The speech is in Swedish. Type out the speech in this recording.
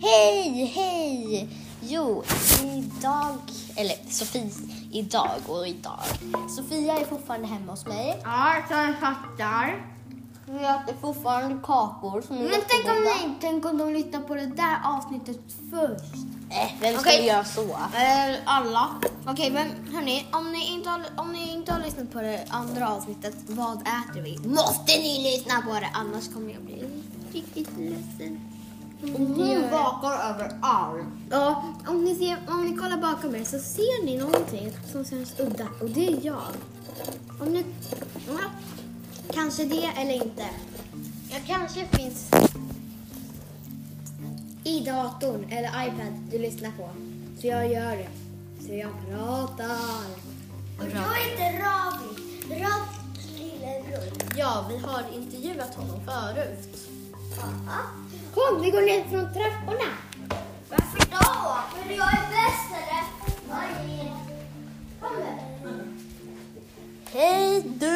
Hej, hej! Jo, idag, eller Sofie, idag och idag. Sofia är fortfarande hemma hos mig. Ja, så jag fattar. Vi äter fortfarande kakor som är Mm. Men tänk om, ni, tänk om de lyssnar på det där avsnittet först. Äh, vem ska Okej. göra så? Eller alla. Okej, men hörni, om ni, inte har, om ni inte har lyssnat på det andra avsnittet, vad äter vi? Måste ni lyssna på det, annars kommer jag bli riktigt ledsen. Mm-hmm. Hon bakar överallt. Ja, om ni, ser, om ni kollar bakom er så ser ni någonting som känns udda och det är jag. Om ni... Ja, kanske det eller inte. Jag kanske finns i datorn eller iPad du lyssnar på. Så jag gör det. Så jag pratar. Och jag heter Ravi. Ravis lillebror. Ja, vi har intervjuat honom förut. Ja. Kom, vi går ner från trapporna. Varför då? För jag är bäst eller? Vad är- Kom nu. Hej du!